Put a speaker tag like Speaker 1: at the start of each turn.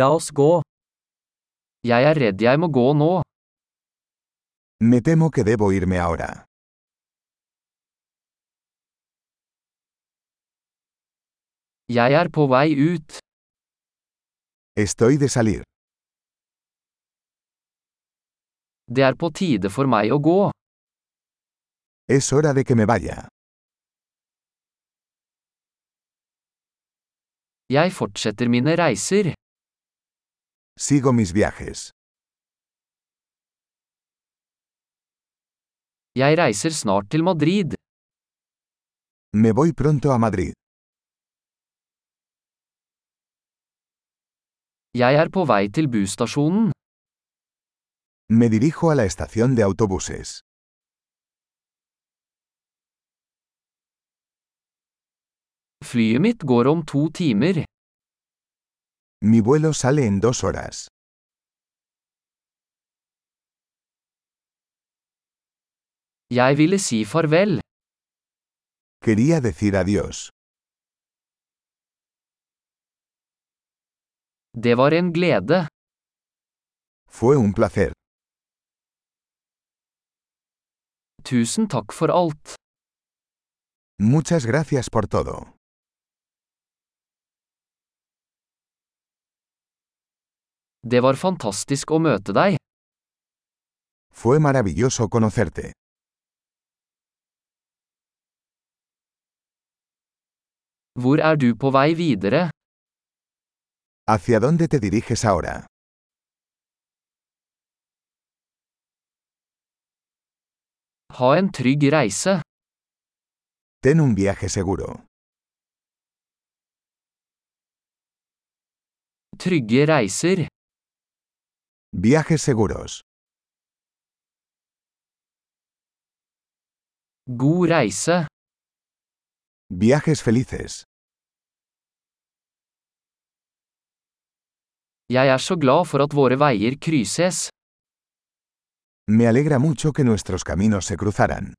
Speaker 1: La oss gå. Jeg er redd jeg må gå nå.
Speaker 2: Me temo que debo irme ahora.
Speaker 1: Jeg er på vei ut.
Speaker 2: Estoy de salir.
Speaker 1: Det er på tide for meg å gå.
Speaker 2: Es hora de que me vaya.
Speaker 1: Jeg fortsetter mine reiser.
Speaker 2: Sigo mis viajes.
Speaker 1: Jeg reiser snart til Madrid.
Speaker 2: Me voy pronto a Madrid.
Speaker 1: Jeg er på vei til busstasjonen.
Speaker 2: Me dirijo a la estación de autobuses.
Speaker 1: Flyet mitt går om to timer.
Speaker 2: Mi vuelo sale en dos horas.
Speaker 1: Jeg ville si farvel.
Speaker 2: Quería decir adiós.
Speaker 1: Det var en glede.
Speaker 2: Fue un placer.
Speaker 1: Tusen takk for alt.
Speaker 2: Muchas gracias por todo.
Speaker 1: Det var fantastisk å møte deg.
Speaker 2: Fue maravilloso conocerte.
Speaker 1: Hvor er du på vei videre?
Speaker 2: ¿Hacia dónde te diriges ahora?
Speaker 1: Ha en trygg reise.
Speaker 2: Ten un viaje seguro.
Speaker 1: Trygge reiser.
Speaker 2: Viajes seguros.
Speaker 1: God reise.
Speaker 2: Viajes felices.
Speaker 1: Jeg er så glad for at våre veier krysses.
Speaker 2: Me alegra mucho que nuestros caminos se cruzaran.